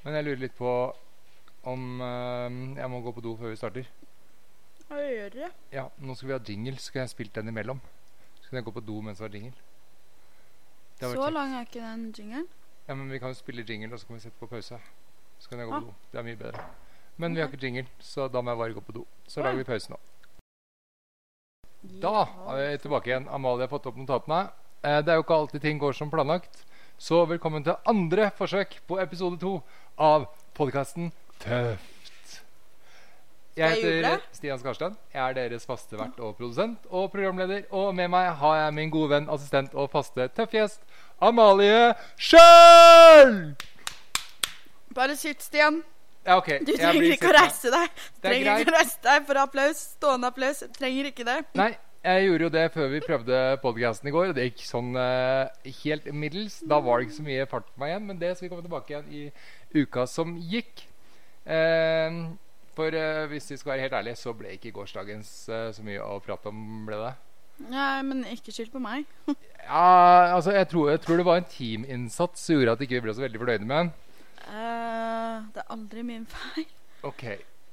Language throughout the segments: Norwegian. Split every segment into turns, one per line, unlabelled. Men jeg lurer litt på om eh, jeg må gå på do før vi starter.
Hva gjør dere?
Ja, nå skal vi ha jingle. Skal jeg spille den imellom? Så kan jeg gå på do mens det var jingle. Det har vært
Så
kjekt.
lang er ikke den jingeren.
Ja, men vi kan jo spille jingle, og så kan vi sette på pause. Så kan jeg gå
Ah.
på do. Det er mye bedre. Men vi har
Ok.
ikke jingle, så da må jeg bare gå på do. Så
Å,
lager
ja.
vi pause nå. Da er vi tilbake igjen. Amalie har fått opp notatene. Eh, Det er jo ikke alltid ting går som planlagt. Så velkommen til andre forsøk på episode to av podkasten Tøft. Jeg
Skal jeg
heter
juble?
Stian Skarstein. Jeg er deres faste vert og produsent og programleder. Og med meg har jeg min gode venn, assistent og faste tøffgjest Amalie Schjøll!
Bare sitt, Stian.
Ja, ok.
Du
jeg
trenger
blir
ikke
sittende.
å reise deg. Du
Det er
trenger ikke å reise deg for applaus. Stående applaus. Du Trenger ikke det.
Nei, jeg gjorde jo det før vi prøvde podcasten i går. og Det gikk sånn eh, helt middels. Da var det ikke så mye fart på meg igjen, men det skal vi komme tilbake igjen i uka som gikk. Eh, for eh, hvis vi skal være helt ærlige, så ble ikke gårsdagens eh, så mye å prate om, ble det?
Nei, men ikke skyld på meg.
Ja, altså, jeg tror, jeg tror det var en teaminnsats som gjorde at ikke vi ble så veldig fornøyde med den.
Eh, det er aldri min feil.
Ok,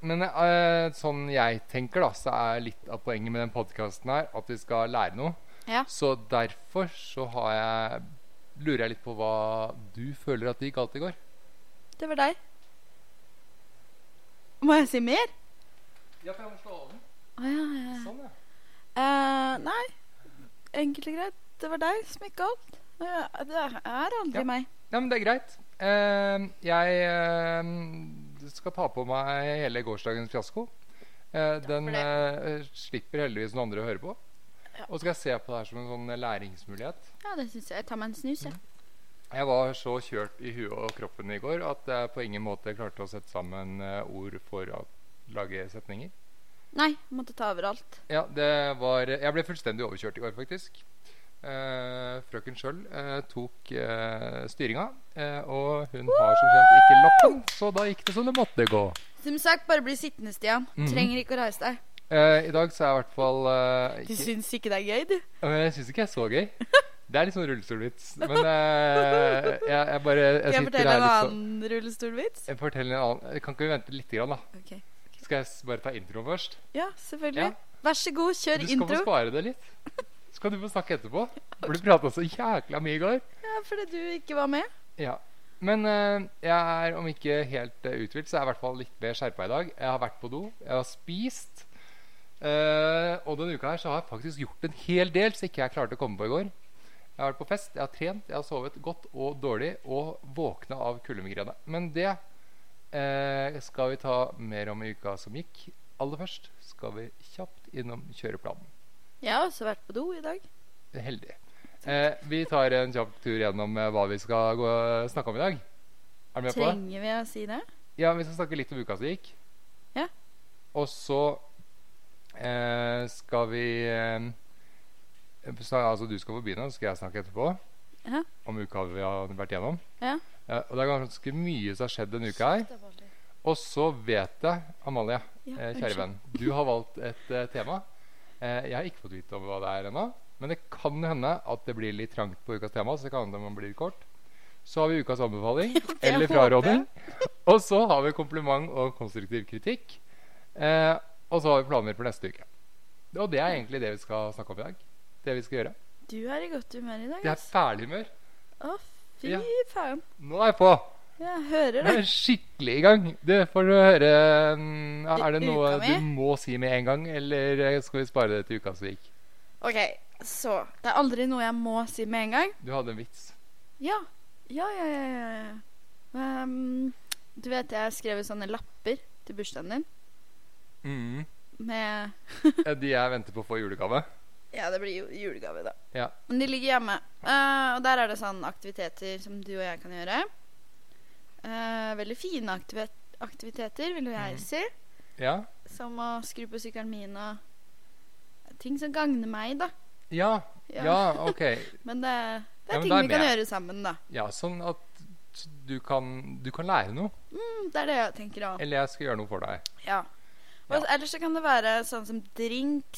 men eh, sånn jeg tenker da, så er litt av poenget med den podcasten her at vi skal lære noe.
Ja.
Så derfor så har jeg, lurer jeg litt på hva du føler at det gikk galt i går.
Det var deg. Må jeg si mer?
Ja, for jeg må slå over.
Å ja, ja. ja.
Sånn, ja.
Eh, nei. Enkelt og greit. Det var deg som gikk galt. Det er- Det er aldri
Ja.
meg.
Ja, men det er greit. Eh, jeg eh, skal ta på meg hele gårsdagens fiasko. Eh, den
for
eh, slipper heldigvis noen andre å høre på.
Ja.
Og så skal jeg se på det her som en sånn læringsmulighet.
Ja, det syns jeg. Jeg tar meg en snus, jeg.
Mm. Jeg var så kjørt i huet og kroppen i går at jeg på ingen måte klarte å sette sammen eh, ord for å lage setninger.
Nei, jeg måtte ta over alt.
Ja, det var Jeg ble fullstendig overkjørt i går, faktisk. Eh, frøken sjøl eh, tok eh, styringa, eh, og hun har som kjent ikke lappen, så da gikk det som det måtte gå.
Som sagt, bare bli sittende, Stian.
Mhm.
Trenger ikke å reise deg.
Eh, I dag så er jeg i hvert fall eh,
Du
ikke,
syns ikke det er gøy, du?
Ja, men Jeg syns ikke jeg er så gøy. Det er litt sånn rullestolvits. Men eh, jeg, jeg bare
Skal
jeg
jeg
sitter
fortelle
her
en
litt sånn.
annen rullestolvits?
Jeg forteller en annen. Kan ikke vi vente lite grann, da?
Ok.
Skal jeg s- bare ta introen først?
Ja,
Ja.
selvfølgelig. Vær så god, kjør
Du skal få
intro.
spare det litt. Så kan du få snakke etterpå. For du prata så jækla mye i går.
Ja, fordi du ikke var med.
Ja. Men eh, jeg er om ikke helt eh, uthvilt, så er jeg i hvert fall litt mer skjerpa i dag. Jeg har vært på do, jeg har spist. eh, og denne uka her så har jeg faktisk gjort en hel del som ikke jeg klarte å komme på i går. Jeg har vært på fest, jeg har trent, jeg har sovet godt og dårlig og våkna av kuldemigrene. Men det eh, skal vi ta mer om i uka som gikk. Aller først skal vi kjapt innom kjøreplanen.
Jeg har også vært på do i dag.
Heldig. Eh, vi tar en kjapp tur gjennom eh, hva vi skal gå, snakke om i dag. Er du med på det?
Trenger vi å si det?
Ja, vi skal snakke litt om uka som gikk.
Ja.
Og så eh, skal vi eh, så, Altså, du skal få begynne, så skal jeg snakke etterpå.
Ja.
Om uka vi har vært gjennom.
Ja.
Eh, og det er ganske mye som har skjedd denne uka her. Og så vet jeg, Amalie,
Ja,
eh, kjære
unnskyld.
venn, du har valgt et eh, tema. Eh, jeg har ikke fått vite om hva det er ennå, men det kan hende at det blir litt trangt på ukas tema. Så det kan hende man blir kort. Så har vi ukas anbefaling
jeg
eller fraråding. Og så har vi kompliment og konstruktiv kritikk. Eh, og så har vi planer for neste uke. Og det er egentlig det vi skal snakke om i dag. Det vi skal gjøre.
Du er i godt humør i dag.
Det er
ass.
ferdighumør.
Å, fy
Ja.
faen.
Nå er jeg på!
Jeg
Nå
hører
er
det.
jeg skikkelig i gang. Du får du høre mm, ja, Er det
Uka
noe
mi?
du må si med en gang, eller eh, skal vi spare det til uka som gikk?
OK, så Det er aldri noe jeg må si med en gang.
Du hadde en vits.
Ja. Ja, ja, ja. ja, ja. Ehm, du vet jeg har skrevet sånne lapper til bursdagen din
Mm.
med
Eh, De jeg venter på å få i julegave.
Ja, det blir jo julegave, da.
Ja.
Men de ligger hjemme. Eh, og der er det sånn aktiviteter som du og jeg kan gjøre. Eh, veldig fine aktivet aktiviteter, vil jo
Mhm.
jeg si.
Ja.
Som å skru på sykkelen min og Ting som gagner meg, da.
Ja,
Ja.
ja, ok.
Men det, det
Ja,
er
men
ting
da er
vi kan
med.
gjøre sammen, da.
Ja, sånn at du kan, du kan lære noe.
Mm, Det er det jeg tenker òg.
Eller jeg skal gjøre noe for deg.
Ja. Og
Ja.
ellers så kan det være sånn som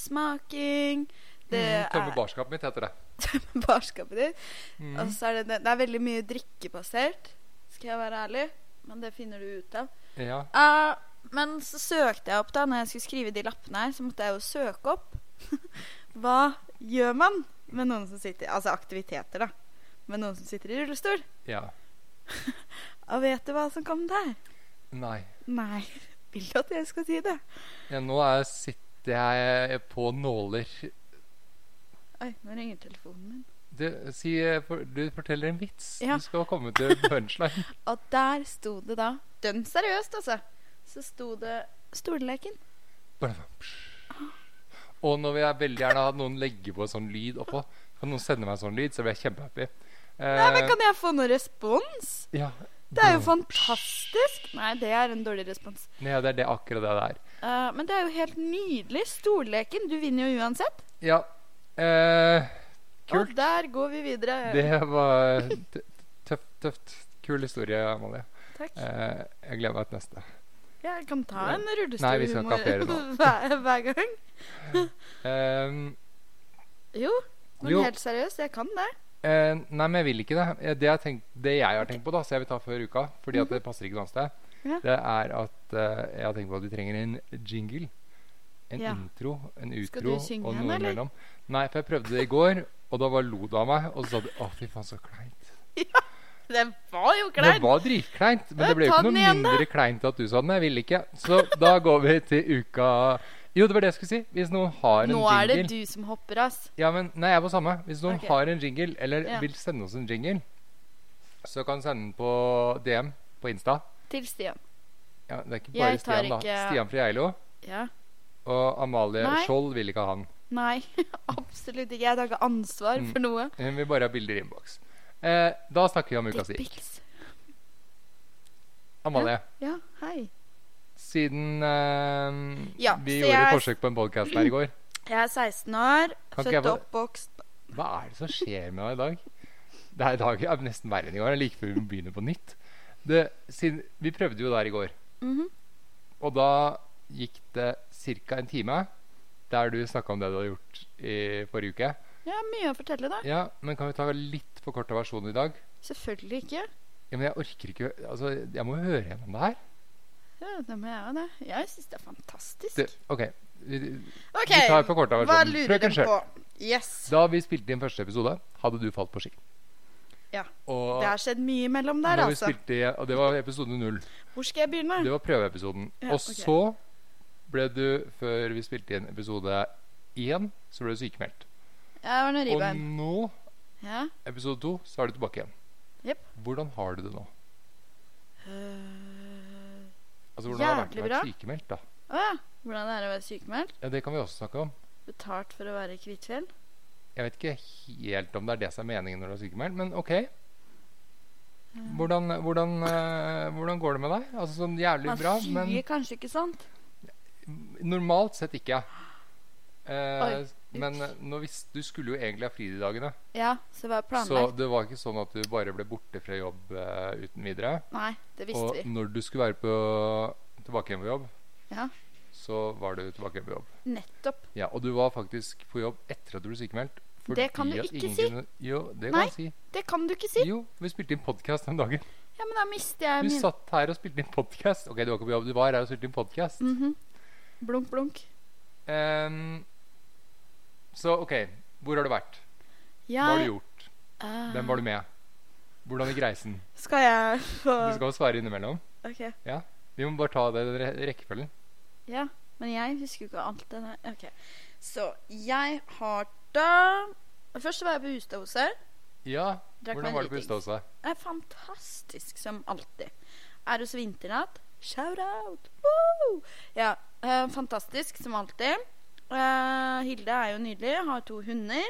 drinksmaking. Det
Mm, Tømme
er
barskapet mitt heter det.
barskapet ditt.
Mm.
Altså- Og så er det, det er veldig mye drikkebasert, skal jeg være ærlig. Men det finner du ut av.
Ja.
Eh, men så søkte jeg opp da Når jeg skulle skrive de lappene her, så måtte jeg jo søke opp. Hva gjør man med noen som sitter Altså aktiviteter, da. Med noen som sitter i rullestol.
ja.
Og vet du hva som kom der?
Nei.
Nei. Vil du at jeg skal si det?
Ja, nå er, sitter jeg på nåler.
Oi, nå ringer telefonen min.
Du, si, eh, for, du forteller en vits.
Ja.
Du skal komme til punchline.
Og der sto det da Dønn seriøst, altså. Så sto det Stolleken.
Og nå vil jeg veldig gjerne ha noen legge på sånn lyd oppå. Kan noen sende meg sånn lyd, så blir jeg kjempehappy. Eh,
Nei, men kan jeg få noe respons?
ja.
Det er jo fantastisk. Nei, det er en dårlig respons.
Nei, ja, det er det, akkurat det det er.
Eh, men det er jo helt nydelig. Stolleken. Du vinner jo uansett.
Ja. Eh,
Og
kult.
der går vi videre.
Det var tø- tøft. tøft. Kul historie, Amalie.
Takk.
Eh, jeg gleder meg til neste.
Jeg kan ta en
Nei, vi skal ikke ha flere nå.
rullestolhumor hver, hver gang.
Eh,
Jo, men
Jo.
helt seriøst, jeg kan det.
Eh, nei, men jeg vil ikke det. Eh, Det jeg, tenk, det jeg har tenkt på, da, så jeg vil ta før uka, fordi at det passer ikke noe annet sted,
Mhm. Ja.
det er at eh, jeg har tenkt på at vi trenger en jingle. En
Ja.
intro, en utro
Skal du synge
og
den,
noe
eller?
imellom. Nei, for jeg prøvde det i går, og da bare lo du av meg. Og så sa du 'Å, fy faen, så kleint'.
Det var jo
Det
kleint.
var dritkleint, men
Ja,
det ble jo
ta
ikke noe
den igjen, da.
mindre kleint at du sa den. Jeg ville ikke. Så da går vi til uka Jo, det var det jeg skulle si. Hvis noen har en
Nå er det
jingle
du som hopper, ass.
Ja, men nei, jeg er på samme. Hvis noen
Ok.
har en jingle, eller
Ja.
vil sende oss en jingle, så kan du sende den på DM på Insta.
Til Stian.
Ja, det er ikke bare
Jeg tar
Stian, da.
ikke-
Stian fra Geilo.
Ja.
Og Amalie
Nei.
Skjold vil ikke ha han.
Nei, absolutt ikke. Jeg tar ikke ansvar
Mm.
for noe.
Hun vil bare ha bilder i innboks. Eh, da snakker vi om ukas gikk.
Dickpics.
Amalie,
Ja, hei.
siden eh,
Ja,
vi
så
gjorde
jeg-
forsøk på en podkast her i går
Jeg er 16 år,
Kan ikke jeg
født
bare-
og oppvokst
Hva er det som skjer med deg i dag? Det er i dag er nesten verre enn i går. Det er Like før vi begynner på nytt. Det, siden, vi prøvde jo der i går.
Mhm.
Og da gikk det ca. en time der du snakka om det du hadde gjort i forrige uke.
Jeg har mye å fortelle, da.
Ja, Men kan vi ta litt forkorta versjon i dag?
Selvfølgelig ikke.
Ja, men Jeg orker ikke Altså, jeg må høre gjennom det her.
Ja, det må jeg jo det. Jeg syns det er fantastisk.
Det, OK. Vi,
OK,
vi tar forkorta
hva
versjon.
lurer
Frøken
dere
Sjøl.
på? Yes.
Da vi spilte inn første episode, hadde du falt på ski.
Ja,
Og
Det har skjedd mye imellom der,
når vi
altså.
spilte, i- og det var episode null.
Hvor skal jeg begynne?
Det var prøveepisoden.
Ja,
og
ok.
så ble du, før vi spilte inn episode én, så ble du sykemeldt.
Jeg var noe
Og
ribbein.
nå,
Ja.
episode to, så er du tilbake igjen.
Jep.
Hvordan har du det nå?
Øh,
Altså, hvordan har det
Jævlig
vært å
bra.
være sykemeldt, da?
Å ja. Hvordan det er å være sykemeldt?
Ja, Det kan vi også snakke om.
Betalt for å være i Kvitfjell?
Jeg vet ikke helt om det er det som er meningen når du er sykemeldt, men OK. Hvordan, hvordan, eh, hvordan går det med deg? Altså sånn jævlig
Man
bra,
sier
men
kanskje ikke sant?
normalt sett ikke. Eh,
Oi,
men nå vis, du skulle jo egentlig ha fri de dagene.
Ja, så det var
Så
planlagt.
det var ikke sånn at du bare ble borte fra jobb eh, uten videre.
Nei, det visste
Og
vi.
når du skulle være på, tilbake igjen på jobb,
Ja.
så var du tilbake igjen på jobb.
Nettopp.
Ja, Og du var faktisk på jobb etter at du ble sykemeldt.
Det kan
fordi
du
at
ikke
ingen
si.
Kunne, jo, det
Nei.
kan jeg si.
Det kan du ikke si.
Jo, vi spilte inn podkast den dagen.
Ja, men da mister jeg
Du
min
satt her og spilte inn podkast. Ok, du var ikke på jobb, du var her og spilte inn podkast.
Mhm. Blunk, blunk.
Ehm, så OK, hvor har du vært? Hva har
Jeg
du gjort? Hvem var du med? Hvordan gikk reisen?
Skal jeg få
Du skal jo svare innimellom.
OK.
Vi må bare ta det i den re- rekkefølgen.
Ja, men jeg husker jo ikke alt det der. OK. Så jeg har da Først så var jeg på Hustadhuset.
Ja,
Drakk
Hvordan
meg
var det på
dritings.
Ustadhuset?
er fantastisk som alltid. Er hos Vinternatt. Shout-out! Woo! Ja, eh, fantastisk som alltid. Eh, Hilde er jo nydelig, har to hunder.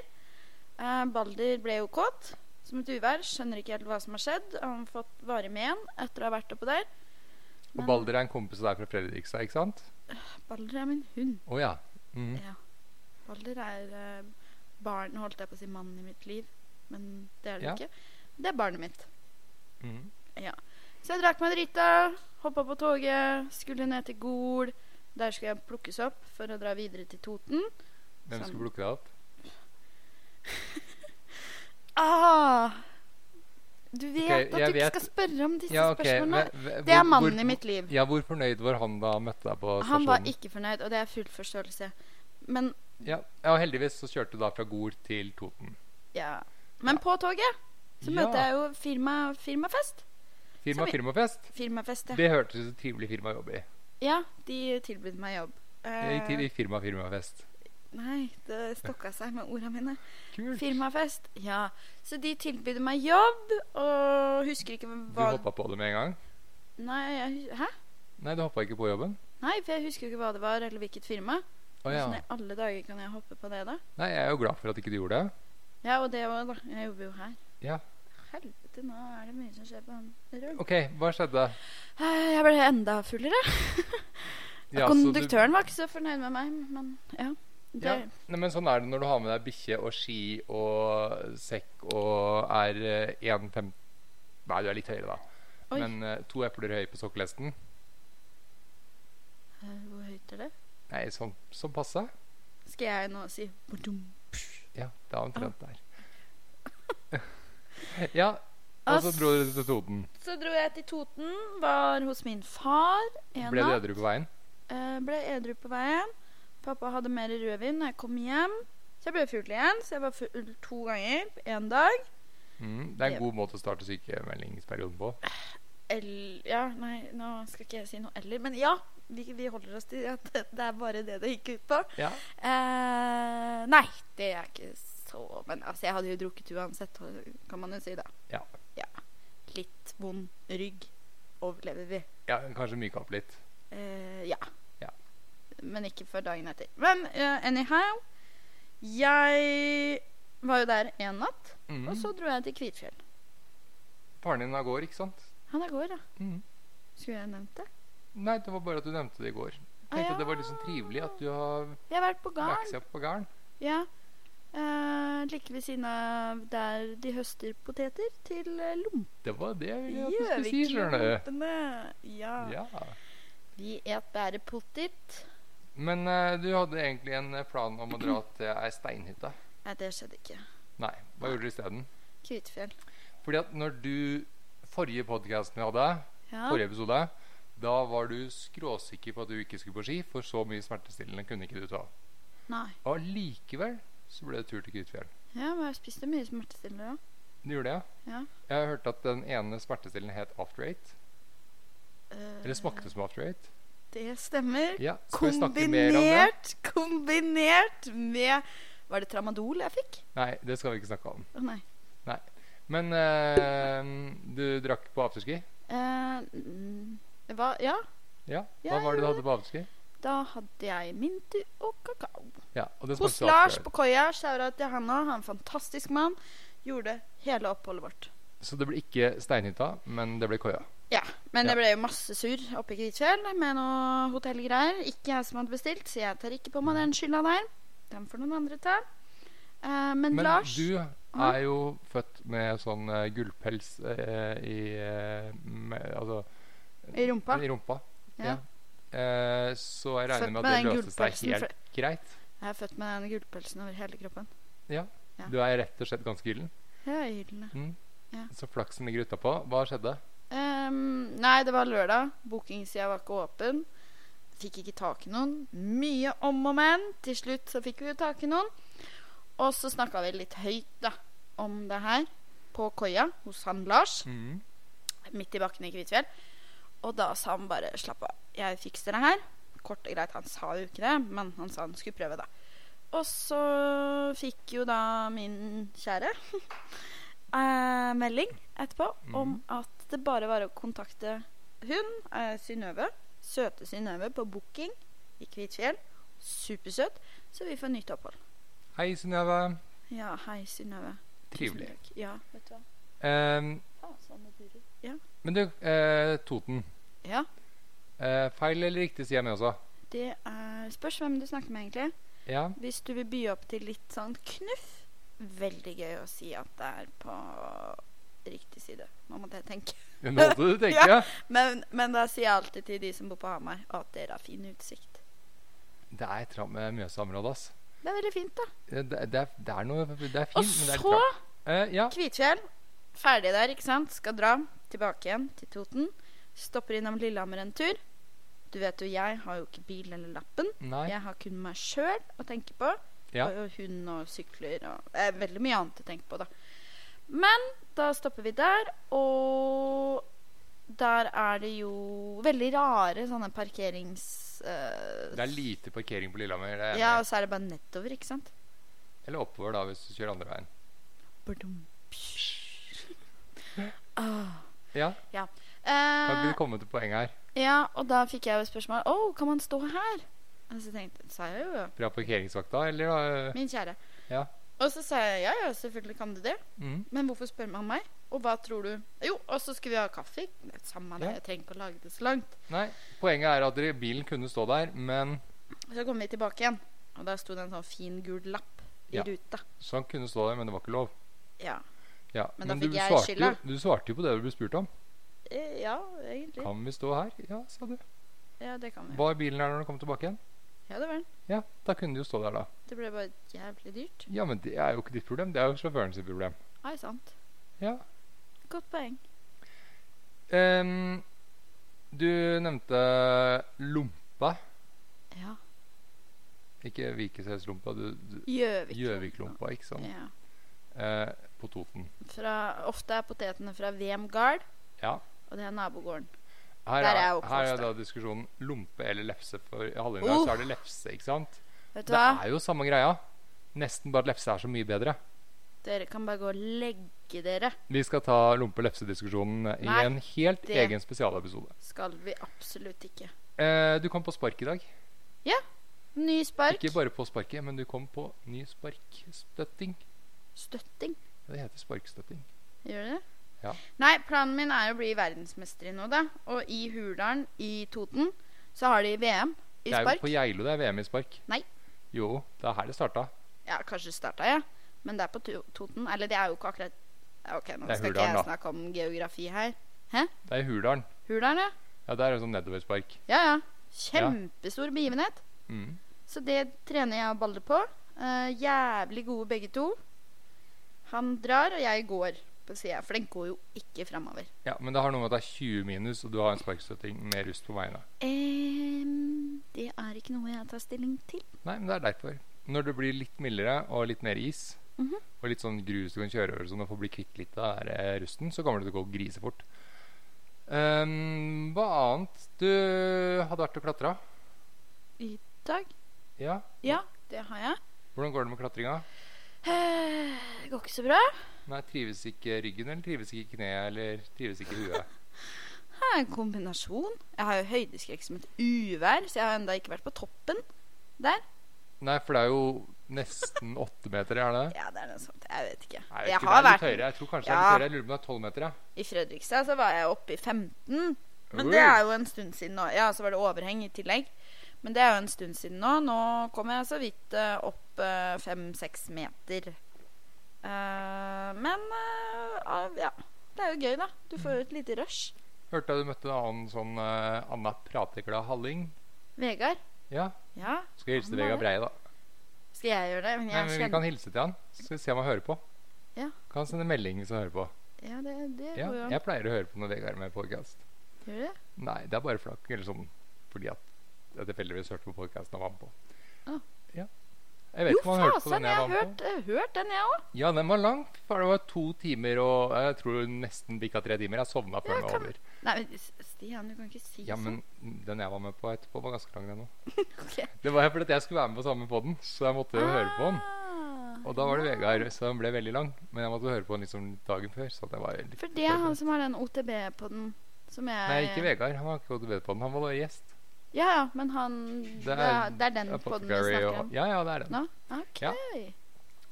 Eh, Balder ble jo kåt som et uvær. Skjønner ikke helt hva som har skjedd. Han har fått varig men etter å ha vært oppå der.
Og Balder er en kompis av deg fra Fredrikstad, ikke sant?
Balder er min hund.
Å ja. Mm.
Balder er eh, barn Holdt jeg på å si mannen i mitt liv, men det er det
Ja.
ikke. Det er barnet mitt.
Mm.
Så jeg drakk meg drita, hoppa på toget, skulle ned til Gol. Der skulle jeg plukkes opp for å dra videre til Toten.
Hvem
Sammen.
skulle plukke deg opp?
Ah, Du vet
Ok,
at du
jeg
ikke
vet-
skal spørre om disse
Ja, ok,
spørsmålene.
ve- ve-
Det er
hvor-
mannen
hvor- sånn.
i mitt liv.
Ja, Hvor fornøyd var han da han møtte deg på stasjonen?
Han var ikke fornøyd, og det er full forståelse. Men,
Ja, ja og heldigvis så kjørte du da fra Gol til Toten.
ja. Men på toget så møter jeg jo firma, firmafest.
Firma
så vi-
Firmafest.
Firmafest, ja.
Det hørtes ut som et trivelig firma å jobbe i.
Ja, de tilbød meg jobb.
Jeg gikk til
Eh,
i Firma Firmafest.
nei, det stokka seg med orda mine.
Kult.
Firmafest. Ja. Så de tilbød meg jobb, og husker ikke
Du
hva
hoppa på det med en gang?
Nei, jeg, hus- hæ?
Nei, du hoppa ikke på jobben?
Nei, for jeg husker ikke hva det var, eller hvilket firma.
Å ja.
Hvordan i alle dager kan jeg hoppe på det, da?
Nei, jeg er jo glad for at ikke du gjorde det.
Ja, og det òg, da. Jeg jobber jo her.
Ja.
Helvete, nå er det mye som skjer på han rullen.
OK, hva skjedde?
Jeg ble enda fullere.
Ja, så du-
Konduktøren var ikke så fornøyd med meg, men ja. Det,
Ja. Nei, men sånn er det når du har med deg bikkje og ski og sekk og er eh, 1,5 Nei, du er litt høyere, da.
Oi.
Men eh, to epler høy på sokkelesten.
Eh, Hvor høyt er det?
Nei, sånn, sånn passe.
Skal jeg nå si badum?
Ja, det er
Ah.
omtrent der. ja, og så dro dere til Toten.
Så dro jeg til Toten, var hos min far en
Ble du
natt.
edru på veien?
Eh, ble edru på veien. Pappa hadde mer rødvin når jeg kom hjem. Så jeg ble full igjen. Så jeg var full to ganger på én dag.
Mm, det er
Det-
en god måte å starte sykemeldingsperioden på.
El ja, nei, nå skal ikke jeg si noe eller. Men ja, vi, vi holder oss til at det er bare det det gikk ut på.
Ja,
Eh, nei, det er ikke så Men altså, jeg hadde jo drukket uansett, kan man jo si, da.
Ja.
ja. Litt vond rygg overlever vi.
ja kanskje myke opp litt.
Eh, ja.
Ja.
Men ikke før dagen etter. Men eh, anyhow Jeg var jo der én natt,
Mm.
og så dro jeg til Kvitfjell.
Faren din av går, ikke sant?
Han er gård, da.
Mm.
Skulle jeg nevnt det?
Nei, det var bare at du nevnte det i går. Jeg
Ah,
tenkte
ja.
at det var litt sånn trivelig at du har
Jeg har vært på
lagt
garn.
seg opp på garn.
Ja. Eh, like ved siden av der de høster poteter, til eh,
Det var det jeg ville at du skulle si, skjønner du.
Gjøviklompene. Ja.
Ja.
Vi et bare potet.
Men eh, du hadde egentlig en eh, plan om å dra til ei steinhytte.
Nei, det skjedde ikke.
Nei, hva gjorde du isteden?
Kvitfjell.
Fordi at når du Forrige podkasten vi hadde,
Ja.
forrige episode, da var du skråsikker på at du ikke skulle på ski, for så mye smertestillende kunne ikke du ta.
Nei.
Og allikevel så ble det tur til Kvitfjell.
Ja, men jeg spiste mye smertestillende òg.
Du gjorde det?
Ja.
Jeg har hørt at den ene smertestillende het After Eight.
Eh.
Eller smakte som After Eight.
Det stemmer.
Ja, skal vi snakke mer om det?
Kombinert, kombinert med Var det tramadol jeg fikk?
Nei, det skal vi ikke snakke om.
Å nei.
Men eh, du drakk på afterski?
Eh, mm, hva Ja,
Ja.
Ja,
Hva var det du
ja.
hadde på afterski?
da hadde jeg mint og kakao.
Ja, og det
Hos
smakte
Lars
After
på koia. Shout-out til han òg. Han er en fantastisk mann. Gjorde hele oppholdet vårt.
Eight. Så det ble ikke steinhytta, men det ble koia.
Ja, men
Ja.
det ble jo masse surr oppe i Kvitfjell med noe hotellgreier. Ikke jeg som hadde bestilt, så jeg tar ikke på
Mm.
meg den skylda der. Den får noen andre ta. Eh, men,
Men
Lars
du er jo født med sånn uh, gullpels eh, i eh, med, Altså
i rumpa.
i rumpa.
Ja.
ja. Eh, så jeg regner med
Født med
at det
den
løste seg
gullpelsen
helt greit.
Jeg er født med den gullpelsen over hele kroppen. Ja.
Du er rett og slett ganske gyllen.
Det er hyllende.
Så flaksen ligger utapå. Hva skjedde?
Ehm, nei, det var lørdag. Bookingsida var ikke åpen. Fikk ikke tak i noen. Mye om og men. Til slutt så fikk vi jo tak i noen. Og så snakka vi litt høyt da om det her på koia hos han Lars,
Mm.
midt i bakken i Kvitfjell. Og da sa han bare 'slapp av, jeg fikser det her'. Kort og greit. Han sa jo ikke det, men han sa han skulle prøve, da. Og så fikk jo da min kjære eh, melding etterpå om at det bare var å kontakte hun, eh, Synnøve, søte Synnøve, på booking i Kvitfjell. Supersøt. Så vi får nytt opphold.
Hei, Synnøve.
Ja, hei, Synnøve. Tusen
Trivelig.
takk. Ja, vet du hva.
Eh,
Faen, sånn det durer.
men du, eh, Toten.
Ja,
Eh, feil eller riktig, sier jeg med også.
det er Spørs hvem du snakker med, egentlig.
Ja.
Hvis du vil by opp til litt sånn knuff Veldig gøy å si at det er på riktig side. Nå måtte jeg tenke.
Nå måtte du tenke.
Ja. Men, men da sier jeg alltid til de som bor på Hamar, at dere har fin utsikt.
Det er trapp med Mjøsa-området, ass. Eh,
Det er veldig fint, da.
Det, det, er, det er noe Det er fint,
Og
men det er litt
så
trapp. Eh, ja.
Kvitfjell. Ferdig der, ikke sant? Skal dra tilbake igjen til Toten. Stopper innom Lillehammer en tur. Du vet jo, jeg har jo ikke bil eller lappen.
Nei.
Jeg har kun meg sjøl å tenke på.
Ja.
Og og hund og sykler og det er veldig mye annet å tenke på, da. Men da stopper vi der, og der er det jo veldig rare sånne parkerings... eh,
Det er lite parkering på Lillehammer. Det er jeg
ja,
enig
og så er det bare nettover, ikke sant?
i. Eller oppover, da, hvis du kjører andre veien.
Badum. Ah.
Ja, kan
Eh,
ikke du komme til poenget her?
ja, og da fikk jeg jo et spørsmål Å, kan man stå her? Og så tenkte sa jeg jo
Fra parkeringsvakta, eller? øh,
Min kjære.
Ja.
Og så sa jeg ja, ja, selvfølgelig kan du det.
Mm.
Men hvorfor spør man meg? Og hva tror du? Jo, og så skulle vi ha kaffe. Det er Samme det,
Ja.
jeg trenger ikke å lage det så langt.
Nei, poenget er at dere- bilen kunne stå der, men
Så kom vi tilbake igjen, og der sto det en sånn fin gul lapp i
Ja.
ruta.
Så han sånn kunne stå der, men det var ikke lov.
Ja.
Ja.
Men da
du,
fikk jeg
svarte jo,
skylda.
du svarte jo på det du ble spurt om.
Eh, ja, egentlig.
Kan vi stå her? Ja, sa du.
Ja, det kan vi.
Var bilen her når du kom tilbake igjen?
Ja, det var den.
Ja, da kunne du jo stå der, da.
Det ble bare jævlig dyrt.
Ja, men det er jo ikke ditt problem. Det er jo sjåføren sitt problem.
Nei, sant.
Ja.
Godt poeng.
Ehm, du nevnte lompa.
Ja.
Ikke Vikesøyslompa, du, du
Gjøvik.
Gjøviklompa, ikke sant?
Ja.
Eh, på Toten.
Fra, ofte er potetene fra VM Gard,
Ja.
og det er nabogården.
Her
Der
er,
er jeg oppvokst,
her er
da. Oh.
da diskusjonen lompe eller lefse. For i Hallingdal så er det lefse, ikke sant?
Vet du
Det
hva?
er jo samme greia. Nesten bare at lefse er så mye bedre.
Dere kan bare gå og legge dere.
Vi skal ta lompe-lefse-diskusjonen i
Nei,
en helt
det-
egen spesialepisode.
Skal vi absolutt ikke.
Eh, du kom på spark i dag.
Ny spark.
Ikke bare på sparket, men du kom på ny sparkstøtting.
Støtting.
Ja, Det heter sparkstøtting.
Gjør det det?
Ja.
Nei, planen min er å bli verdensmester i noe, da. Og i Hurdalen, i Toten, så har de VM i
Det er jo
spark.
på Geilo det er VM i spark.
Nei.
Jo, det er her det starta.
Ja, kanskje starta jeg, men det er på to Toten. Eller det er jo ikke akkurat Ja, OK, nå
Det er
skal ikke
Hurdalen,
jeg
da.
snakke om geografi her.
Det er i Hurdalen.
Hurdalen, ja.
Ja, det er en sånn nedoverspark.
Ja, ja. Kjempestor begivenhet.
Mm.
Så det trener jeg og Balle på. Eh, jævlig gode begge to. Han drar, og jeg går, på sida. For den går jo ikke framover.
Ja, men det har noe med at det er 20 minus, og du har en sparkstøtting med rust på veiene.
Em, det er ikke noe jeg tar stilling til.
Nei, men det er derfor. Når det blir litt mildere og litt mer is,
Mhm.
og litt sånn grus du kan kjøre over sånn og få bli kvitt litt av den der, eh, rusten, så kommer det til å gå grisefort. Ehm, hva annet? Du hadde vært og klatra?
I dag?
Ja.
Ja, det har jeg.
Hvordan går det med klatringa?
Eh, Det går ikke så bra.
Nei, Trives ikke ryggen, eller trives ikke kneet, eller trives ikke huet?
Det er en kombinasjon. Jeg har jo høydeskrekk som et uvær, så jeg har ennå ikke vært på toppen.
Nei, for det er jo nesten åtte meter, er det?
Ja, det er noe sånt. Jeg vet ikke.
Nei,
jeg
ikke,
har
det er litt
vært
høyere. Jeg tror kanskje
Ja.
det er litt høyere. Jeg lurer på om det er tolv meter, ja.
I Fredrikstad så var jeg oppe i 15. Men
Oi.
det er jo en stund siden nå. Ja, så var det overheng i tillegg. Men det er jo en stund siden nå. Nå kom jeg så vidt eh, opp fem-seks meter. Eh, men eh, av- ja. Det er jo gøy, da. Du får jo et lite rush.
Hørte jeg du møtte en annen sånn eh, Anna Prateglad Halling.
Vegard.
Ja.
Ja,
Skal hilse til
Han er
Vegard Breie, da.
skal jeg gjøre det? Men
Nei,
jeg
men Vi
kjenner
kan hilse til han, så skal vi se om han hører på.
Ja.
Kan han sende melding hvis han hører på.
Ja, det, det
Ja,
går jo an.
jeg pleier å høre på når Vegard er med podkast.
Gjør du det?
Nei, det er bare flakk. Eller sånn fordi at jeg tilfeldigvis hørte på podkasten han var med på.
Ah.
Ja. Jeg vet
Jo,
ikke om han hørte på den
fasen! Jeg
jeg
har
var med
hørt,
på.
eh, hørt den, jeg òg.
Ja, den var lang. For det var to timer og Jeg tror nesten bikka tre timer. Jeg sovna før
Ja,
den var
kan-
over.
Nei, men S- Stian, du kan ikke si
Ja, men den jeg var med på etterpå, var ganske lang, den òg.
sånn. Ok.
Det var fordi at jeg skulle være med på samme podden, så jeg måtte jo høre på den.
Ah,
Og da var det
ja.
Vegard, så den ble veldig lang. Men jeg måtte høre på den liksom dagen før. Så at jeg var litt
For det er han som har den OTB-podden som jeg
Nei, ikke Vegard. Han var ikke gått bedre på den. Han var bare gjest.
Ja, ja, men han
Det
Det
er-
er, det er den podden vi
Apothecary
snakker
og-
om
Ja, ja, det er den.
nå? Ok.
Ja.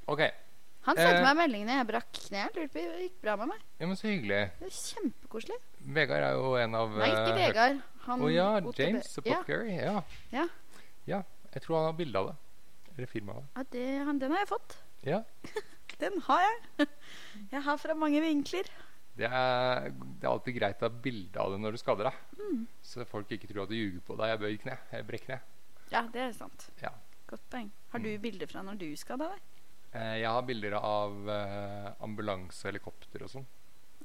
Ok,
Han sendte
Eh.
meg meldingene jeg brakk kneet. Lurte på om det gikk bra med meg.
ja, men så hyggelig.
Det er Kjempekoselig.
Vegard er jo en av
Nei, ikke
eh,
Vegard. Han
Å ja,
OTB.
James
Ja,
Apothecary. Ja.
Ja.
ja. Jeg tror han har bilde av det. Eller firma av det.
ja det, han, den har jeg fått.
Ja.
Den har jeg. Jeg har fra mange vinkler.
Det er, det er alltid greit å ha bilde av det når du skader deg.
Mm.
Så folk ikke tror at du ljuger på deg. Jeg bøyer kne. Jeg brekker kne.
Ja, det er sant.
Ja. Mm.
Godt poeng. Har du bilder fra når du skada deg?
Eh, Jeg har bilder av eh, ambulanse og helikopter og sånn.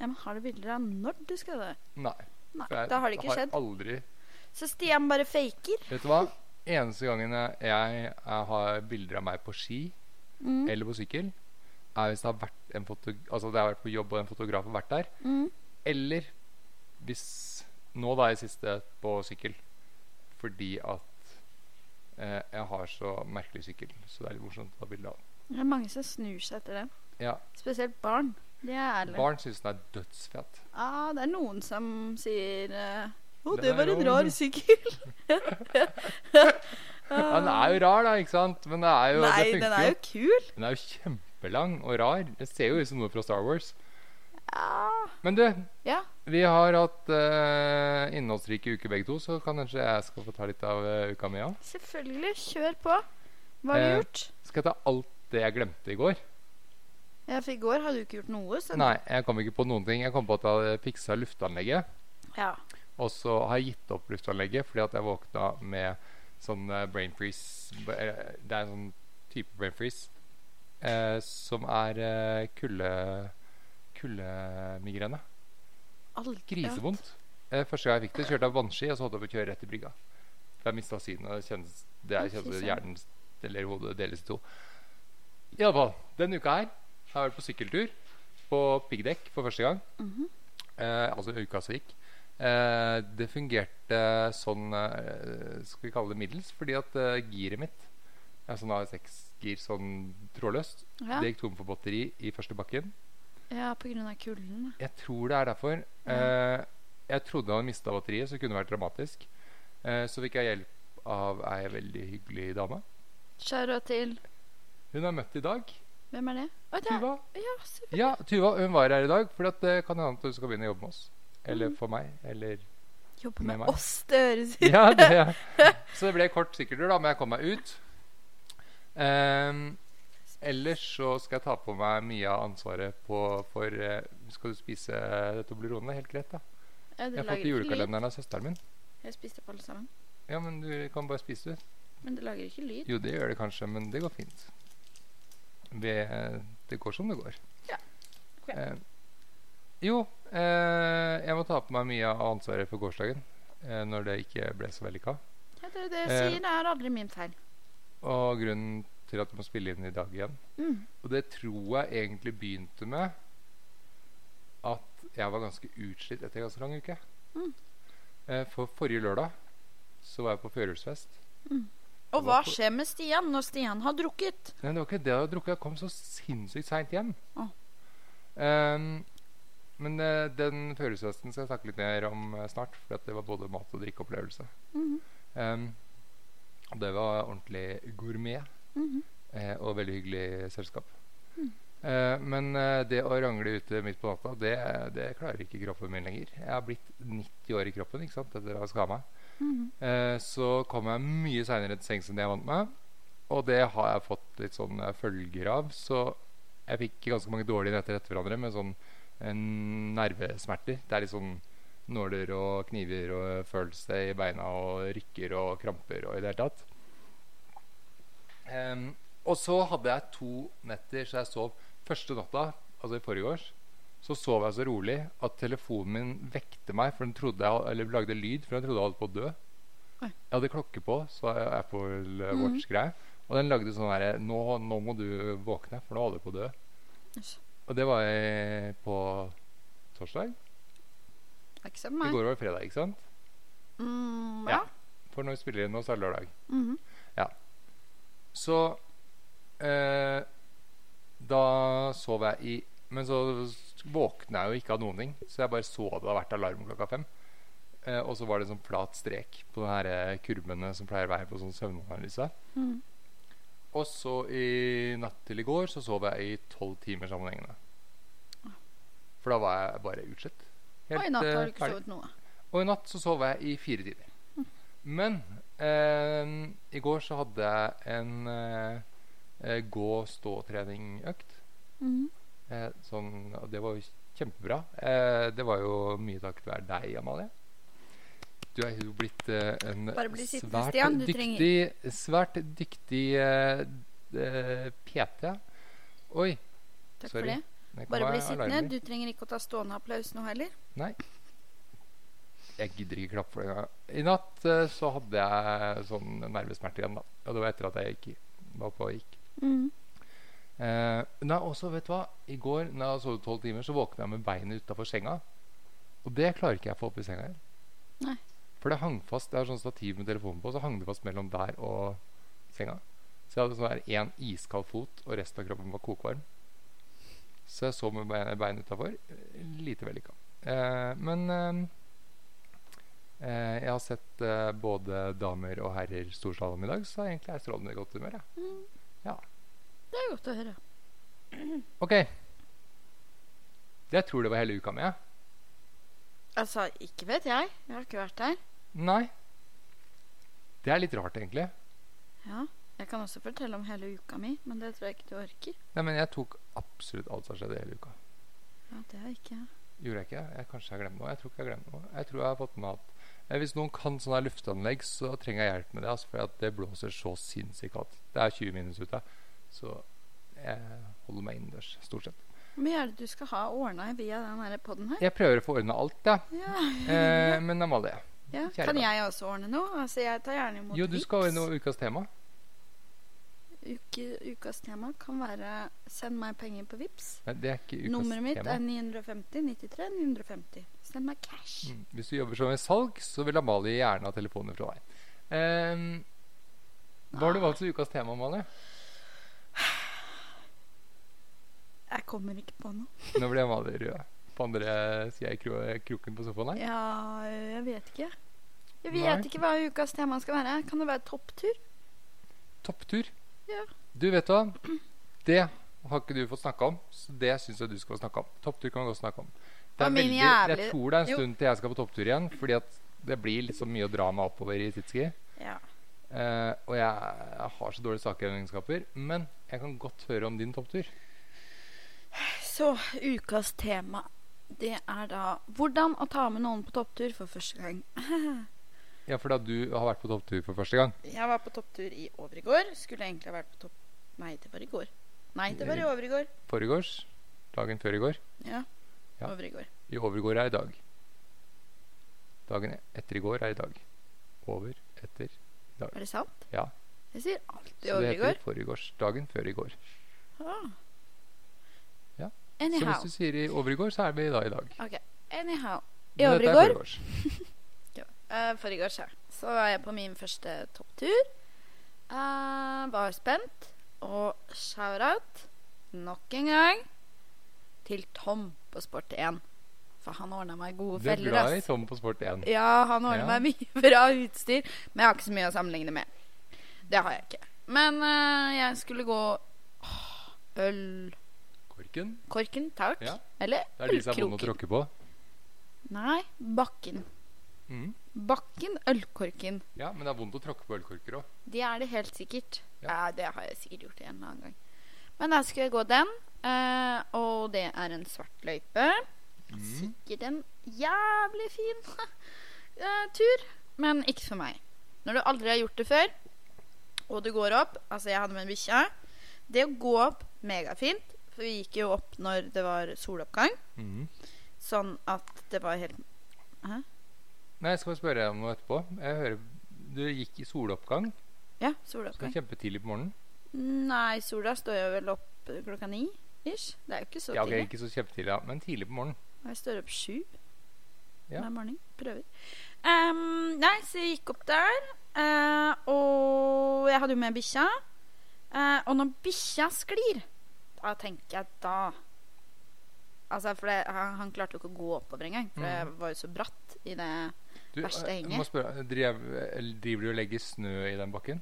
Ja, men har du bilder av når du skal det?
Nei.
Nei,
For jeg
da har det ikke skjedd.
aldri
Så Stian bare faker.
Vet du hva? Eneste gangen jeg, jeg, jeg har bilder av meg på ski
Mm,
eller på sykkel, er hvis det har vært en foto, altså det har vært på jobb og en fotograf har vært der.
mm.
Eller hvis Nå da er jeg siste på sykkel. Fordi at eh, jeg har så merkelig sykkel, så det er litt morsomt å ta bilde av.
Det er mange som snur seg etter den.
Ja,
Spesielt barn. Det er ærlig.
Barn syns den er dødsfet.
Ja, det er noen som sier eh, Å,
Den
det
er
var en
rar,
rar
du.»
sykkel.
Ja, den er jo rar, da, ikke sant? Men det er jo,
Nei,
det
den
funker
er
jo.
jo kul.
Den er jo kjempelang og rar. Det ser jo ut som noe fra Star Wars.
Ja.
Men du,
ja.
vi har hatt eh, innholdsrike uker begge to, så kan kanskje jeg skal få ta litt av eh, uka mi òg.
Selvfølgelig. Kjør på. Hva har du
Eh,
gjort?
Skal jeg ta alt det jeg glemte i går?
Ja, for i går hadde du ikke gjort noe. Så
Nei, jeg kom ikke på noen ting. Jeg kom på at jeg hadde fiksa lufteanlegget.
Ja.
Og så har jeg gitt opp lufteanlegget fordi at jeg våkna med sånn eh, brain freeze b- eh, Det er en sånn type brain freeze eh, som er eh, kulde kuldemigrene.
Aldri
Grisevondt. Eh, første gang jeg fikk det, kjørte jeg vannski og så holdt jeg på å kjøre rett i brygga. For jeg mista synet. og Det kjennes, det er,
Å, fy
kjennes
søren.
hjernen eller hodet deles i to. I alle fall, denne uka her har jeg vært på sykkeltur på piggdekk for første gang.
Mhm.
eh, altså uka som gikk. Eh, det fungerte sånn eh, Skal vi kalle det middels? Fordi at eh, giret mitt, ja, sånn A6-gir, sånn trådløst,
Ja.
det gikk tom for batteri i første bakken.
ja, på grunn av kulden.
Jeg tror det er derfor. Eh, jeg trodde han hadde mista batteriet, så det kunne vært dramatisk. Eh, så fikk jeg hjelp av ei veldig hyggelig dame.
Kjære til
Hun har møtt i dag.
Hvem er det? Å, det er
Tuva.
Ja, se-
Ja, Tuva, hun var her i dag, for det kan hende at hun skal begynne å jobbe med oss. Eller for meg. Eller
jobber
Med
med
meg.
oss, det høres ut
Ja, det Så det ble kort sykkeltur, da, men jeg kom meg ut. Ehm, ellers så skal jeg ta på meg mye av ansvaret på for eh, Skal du spise Toblerone? Helt greit, da.
Ja, det
Jeg har
lager
fått i
ikke lyd.
julekalenderen av søsteren min.
Jeg spiste opp alle sammen.
Ja, men du kan bare spise, du.
Men det lager ikke lyd.
Jo, det gjør det kanskje, men det går fint. Vi, det går som det går.
Ja. Ok.
Eh, jo, eh, jeg må ta på meg mye av ansvaret for gårsdagen. Eh, når det ikke ble så vellykka.
Ja, det, er det jeg
Eh.
sier, det er aldri min feil.
Og grunnen til at du må spille inn i dag igjen.
Mm.
Og det tror jeg egentlig begynte med at jeg var ganske utslitt etter en ganske lang uke.
Mm.
Eh, for forrige lørdag så var jeg på førjulsfest.
Og hva skjer med Stian når Stian har drukket?
Nei, det var ikke det jeg hadde drukket. Jeg kom så sinnssykt seint hjem.
Å.
Ehm, men eh, den førjulsfesten skal jeg snakke litt mer om eh, snart. For at det var både mat- og drikkeopplevelse.
Mhm,
Ehm, og det var ordentlig gourmet
mhm.
eh, og veldig hyggelig selskap. Eh, men eh, det å rangle ute midt på natta, det, det klarer ikke kroppen min lenger. Jeg har blitt 90 år i kroppen ikke sant, etter å ha skada meg.
Mhm.
Eh, så kom jeg mye seinere til sengs enn det jeg vant med. Og det har jeg fått litt sånn eh, følger av. Så jeg fikk ganske mange dårlige netter etter hverandre med sånn eh, nervesmerter. Det er litt sånn nåler og kniver og eh, følelse i beina og rykker og kramper og i det hele tatt. Em, og så hadde jeg to netter så jeg sov første natta, altså i forrige års. Så sov jeg så rolig at telefonen min vekte meg, for den trodde jeg, eller lagde lyd, for den trodde jeg holdt på å dø.
Oi.
Jeg hadde klokke på, så jeg- Apple Watch-greie. Og den lagde sånn herre nå, 'Nå må du våkne, for nå holder du på å dø'.
Yes.
Og det var jeg på torsdag.
Det er ikke sånn
I
meg.
går var det fredag, ikke sant?
Mm, ja.
Ja. For når vi spiller inn nå, så er det lørdag.
Mhm.
Så eh, Da sov jeg i Men så våkna jeg jo ikke av noen ting. Så jeg bare så det hadde vært alarm klokka fem. Eh, og så var det en sånn flat strek på de her eh, kurvene som pleier å være på sånn søvnanalyse.
Mhm.
Og så i natt til i går så sov jeg i tolv timer sammenhengende. For da var jeg bare utslitt.
Og i Ah. natt
eh,
har du ikke
ferdig.
sovet noe.
Og i natt så sov jeg i fire timer. Men eh, i går så hadde jeg en eh, eh, gå-stå-trening-økt.
Mhm.
Eh, sånn, og det var jo kjempebra. Eh, det var jo mye takket være deg, Amalie. Du er jo blitt eh, en
Bare bli sittende,
svært,
Stian, du trenger-
dyktig, svært dyktig eh, d- eh, PT. Oi.
Takk
Sorry.
for det.
Det kan
Bare
være
bli sittende.
alarmer.
Du trenger ikke å ta stående applaus nå heller.
Jeg gidder ikke klappe for det engang. I natt eh, så hadde jeg sånn nervesmerter igjen, da. Og det var etter at jeg gikk, var på og gikk.
Mm-hmm.
Eh, nei, også, vet du hva? I går når jeg sov tolv timer, så våkna jeg med beinet utafor senga. Og det klarer ikke jeg å få opp i senga igjen.
Nei.
For det hang fast, det er sånn stativ med telefonen på, så hang det fast mellom der og senga. Så jeg hadde sånn der én iskald fot, og resten av kroppen var kokvarm. Så jeg sov med be- beinet utafor. Lite vellykka. Eh, men eh, eh, jeg har sett eh, både damer og herrer storslalåm i dag, så egentlig er jeg strålende i godt humør. Jeg.
Det er godt å høre.
Ok. Jeg tror det var hele uka med. jeg.
Altså, ikke vet jeg. Jeg har ikke vært der.
Nei. Det er litt rart, egentlig.
Ja, Jeg kan også fortelle om hele uka mi, men det tror jeg ikke du orker.
Nei, men jeg tok absolutt alt som skjedde hele uka.
Ja, det har ikke jeg.
Gjorde jeg ikke? Jeg, kanskje jeg glemte noe. Jeg tror ikke jeg glemte noe. Jeg tror jeg har fått med at eh, hvis noen kan sånne her luftanlegg, så trenger jeg hjelp med det. Altså, for at det blåser så sinnssykt kaldt. Det er 20 minus ute. Så jeg holder meg innendørs, stort sett.
Hvor mye er det du skal ha ordna via den her podden her?
Jeg prøver å få ordna alt, jeg.
Ja,
Eh, men Amalie,
ja.
Kjære
Kan
venn.
jeg også ordne noe? Altså, Jeg tar gjerne imot
jo, du skal ordne ukas tema.
Uke, ukas tema kan være 'send meg penger på Vips'.
Nei, det er ikke ukas
Nummeret mitt
tema.
er 950 93 950. Send meg cash.
Mm. Hvis du jobber som i salg, så vil Amalie gjerne ha telefoner fra deg. Ehm, hva har du valgt som ukas tema, Amalie?
Jeg kommer ikke på noe.
Nå ble Amalie rød. På andre sida i kro kroken på sofaen her.
Ja, jeg vet ikke. Jeg
Nei.
vet ikke hva ukas tema skal være. Kan det være topptur?
Topptur.
Ja.
Du vet hva? Det har ikke du fått snakka om, så det syns jeg du skal få snakke om. Topptur kan vi godt snakke om. Det er
Og min
veldig, jeg
jævlig-
tror det er en
Jo.
stund til jeg skal på topptur igjen, fordi at det blir liksom mye å dra meg oppover i tidsski.
Ja.
Eh, og jeg, jeg har så dårlige saker og egenskaper. Men jeg kan godt høre om din topptur.
Så ukas tema, det er da hvordan å ta med noen på topptur for første gang.
Ja, for da du har vært på topptur for første gang.
Jeg var på topptur i overgård. Skulle egentlig ha vært på topp... Nei, det var i går. Nei, det var i overgård.
Foregårs. Dagen før i går.
Ja.
Ja.
Overgård.
I overgår er i dag. Dagen etter i går er i dag. Over etter
Er det sant?
Ja.
Jeg sier alltid
Så det heter
overgård.
foregårs. Dagen før i går.
Ah.
Ja. Så
Anyhow.
hvis du sier i overgår, så er vi da i dag.
Ok, anyhow. I
Men dette er
overgård
foregårs.
Uh, Forrige år så var jeg på min første topptur. Eh, var spent. Og shout-out nok en gang til Tom på Sport1. For han ordna meg gode
Du er
feller.
glad i
ass.
Tom på Sport 1.
Ja, han ordna
Ja.
meg mye bra utstyr. Men jeg har ikke så mye å sammenligne med. Det har jeg ikke. Men eh, jeg skulle gå åh, Ølkorken,
Korken.
takk.
Ja.
Eller
Det er de som er vonde å
ølkroken.
tråkke på.
Nei, Bakken.
Mm.
Bakken, ølkorken.
Ja, men det er vondt å tråkke på ølkorker òg.
Det er det helt sikkert.
Ja.
Ja. det har jeg sikkert gjort en eller annen gang. Men da skal jeg gå den. eh, og det er en svart løype.
Mm.
Sikkert en jævlig fin eh, tur, men ikke for meg. Når du aldri har gjort det før, og du går opp Altså, jeg hadde med en bikkje. Det å gå opp megafint, for vi gikk jo opp når det var soloppgang,
Mm.
sånn at det var helt
Nei, jeg skal spørre deg om noe etterpå. Jeg hører du gikk i soloppgang.
Ja,
Skal
soloppgang.
kjempetidlig på morgenen.
Nei, sola står jo vel opp klokka ni ish. Det er jo ikke så
Ja, ok,
tidlig.
ikke så kjempetidlig, da, men tidlig på morgenen.
Og Jeg står opp sju
Ja.
hver morgen. Prøver. Ehm, nei, så jeg gikk opp der. eh, og jeg hadde jo med bikkja. Eh, og når bikkja sklir, da tenker jeg da Altså, for det, han, han klarte jo ikke å gå oppover engang, for
Mm.
det var jo så bratt i det
Du,
Verste
eh, jeg
henger.
må spørre, drev, eller driver du og legger snø i den bakken?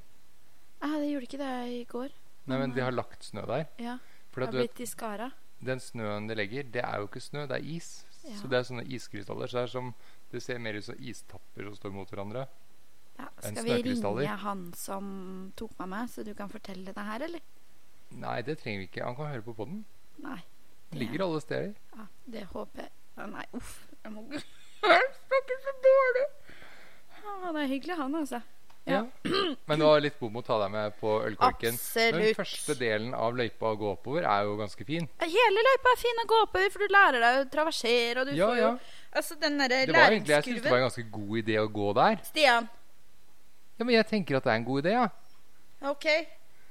Eh, Det gjorde ikke det i går.
Nei, men
Nei.
de har lagt snø der.
Mm. Ja,
For at
jeg har
du vet,
blitt i skara.
den snøen de legger, det er jo ikke snø, det er is.
Ja.
Så det er sånne iskrystaller. Så det er som Det ser mer ut som istapper som står mot hverandre.
Ja,
En
skal vi
snøkrystaller.
ringe han som tok meg med, så du kan fortelle det her, eller?
Nei, det trenger vi ikke. Han kan høre på podden.
Nei.
Den
det-
Ligger alle steder.
Ja, det håper jeg. Å, Nei, uff. Jeg må ikke Jeg snakker så dårlig. Ja, det er hyggelig, han, altså. Ja.
Men det var litt bom å ta deg med på ølkorken. Den
Absolutt.
første delen av løypa å gå oppover er jo ganske fin.
Hele løypa er fin å gå oppover, for du lærer deg å traversere. Og du
Ja,
får jo
ja.
Altså, den derre
Det var egentlig, jeg synes det
læringskurven
var en ganske god idé å gå der.
Stian,
Ja, Men jeg tenker at det er en god idé, ja.
OK.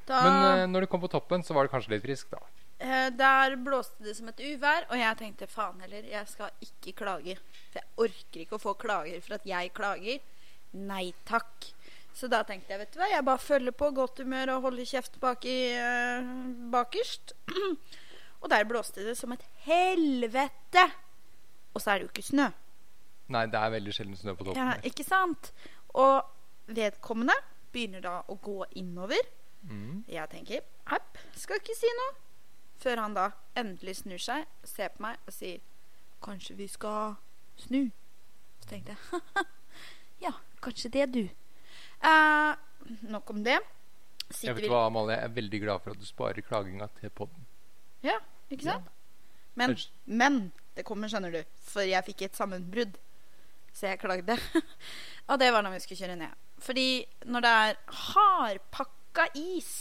Da
Men eh, når du kom på toppen, så var det kanskje litt friskt, da.
eh, Der blåste det som et uvær, og jeg tenkte faen heller, jeg skal ikke klage. For jeg orker ikke å få klager for at jeg klager. Nei takk. Så da tenkte jeg, vet du hva, jeg bare følger på godt humør og holder kjeft bak i, eh, bakerst. og der blåste det som et helvete. Og så er det jo ikke snø.
Nei, det er veldig sjelden snø på toppen.
Ja,
der.
ikke sant? Og vedkommende begynner da å gå innover.
Mm.
Jeg tenker app, skal ikke si noe. Før han da endelig snur seg, ser på meg og sier kanskje vi skal snu. Så tenkte jeg ja, kanskje det, du. Eh, nok om det.
Jeg
Sitter
vet
vi
hva, Amalie, jeg er veldig glad for at du sparer klaginga til podden.
Ikke sant? Men,
Ellers-
men det kommer, skjønner du. For jeg fikk et sammenbrudd. Så jeg klagde. og det var når vi skulle kjøre ned. Fordi når det er hardpakka is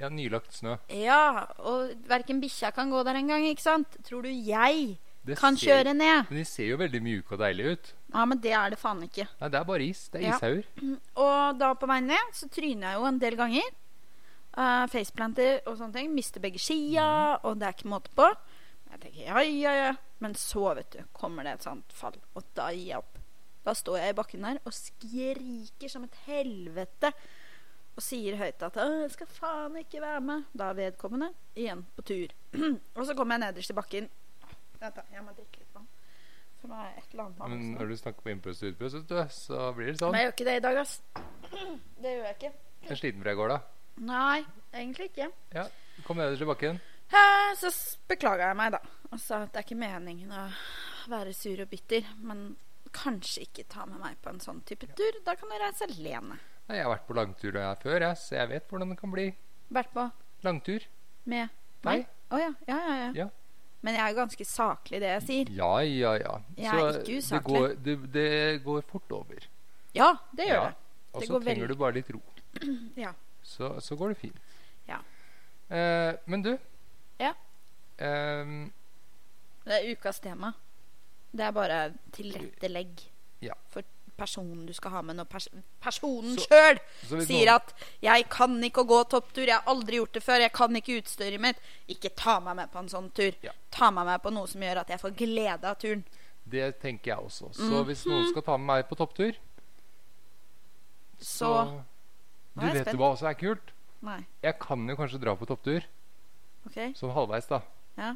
Ja, nylagt snø.
Ja, og verken bikkja kan gå der engang, ikke sant? Tror du jeg
Det
kan
ser-
kjøre ned?
Men de ser jo veldig mjuke og deilige ut.
Ja, men det er det faen ikke.
Nei, det er bare is. Det er
Ja.
ishauger.
Og da på vei ned så tryner jeg jo en del ganger. Eh, faceplanter og sånne ting. Mister begge
Mm.
skia, og det er ikke måte på. Jeg tenker ja, ja, ja. Men så, vet du, kommer det et sånt fall, og da gir jeg opp. Da står jeg i bakken der og skriker som et helvete. Og sier høyt at «Åh, 'jeg skal faen ikke være med'. Da er vedkommende igjen på tur. og så kommer jeg nederst i bakken. Vent, da. Jeg må drikke litt vann. For nå er jeg et eller annet
Men
annet.
når du snakker på innpust og utpust, vet du, så blir det sånn.
Men jeg gjør ikke det i dag, ass. Det gjør jeg ikke.
Jeg er sliten fra i går, da.
Nei, egentlig ikke.
Kom nederst i bakken.
Eh, Så s- beklaga jeg meg, da. Og sa at det er ikke meningen å være sur og bitter. Men kanskje ikke ta med meg på en sånn type tur. Da kan du reise alene.
Nei, jeg har vært på langtur jeg før, jeg, så jeg vet hvordan det kan bli.
Vært på
Langtur.
med
Nei.
meg. Å ja. Ja, ja, ja.
Ja.
Men jeg er jo ganske saklig i det jeg sier.
Ja, ja, ja.
Jeg
Så
er ikke
det
usaklig.
går, det, det går fort over.
Ja, det gjør
Ja.
det.
Og
Det
så
går
trenger
veldig-
du bare litt ro.
Ja.
Så, så går det fint.
Ja.
Eh, men du
Ja.
Ehm,
Det er ukas tema. Det er bare tilrettelegg
Ja.
for personen du skal ha med når pers personen
Så-
sjøl
så hvis
Sier
noen-
at 'jeg kan ikke å gå topptur, jeg har aldri gjort det før', 'jeg kan ikke utstyret mitt'. Ikke ta meg med på en sånn tur.
Ja.
Ta meg med på noe som gjør at jeg får glede av turen.
Det tenker jeg også. Så
Mhm.
hvis noen skal ta med meg på topptur, så,
Så-
Du
Nå er jeg
vet
spent.
jo hva som er kult?
Nei.
Jeg kan jo kanskje dra på topptur,
OK?
sånn halvveis, da.
Ja.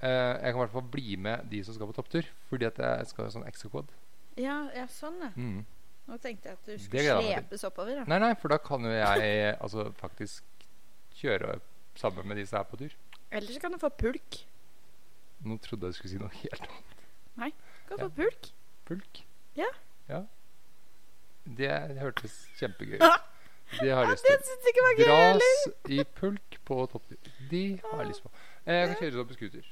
Eh, jeg kan i hvert fall bli med de som skal på topptur, fordi at jeg skal ha sånn extra quad.
Ja, ja sånn, ja.
Mm.
Nå tenkte jeg at du
Det
skulle
gleder jeg meg
slepes oppover. Da.
Nei, nei, for da kan jo jeg altså, faktisk kjøre sammen med de som er på tur.
Ellers kan du få pulk.
Nå trodde jeg du skulle si noe helt annet.
Du kan
Ja.
få pulk.
Pulk.
Ja.
ja. Det hørtes kjempegøy ut.
Ja.
Det har
Ja,
jeg lyst
det
til.
syns jeg ikke var gøy heller.
Dras i pulk på topptur. De har jeg lyst på. Eh, Jeg kan kjøre sånn på scooter.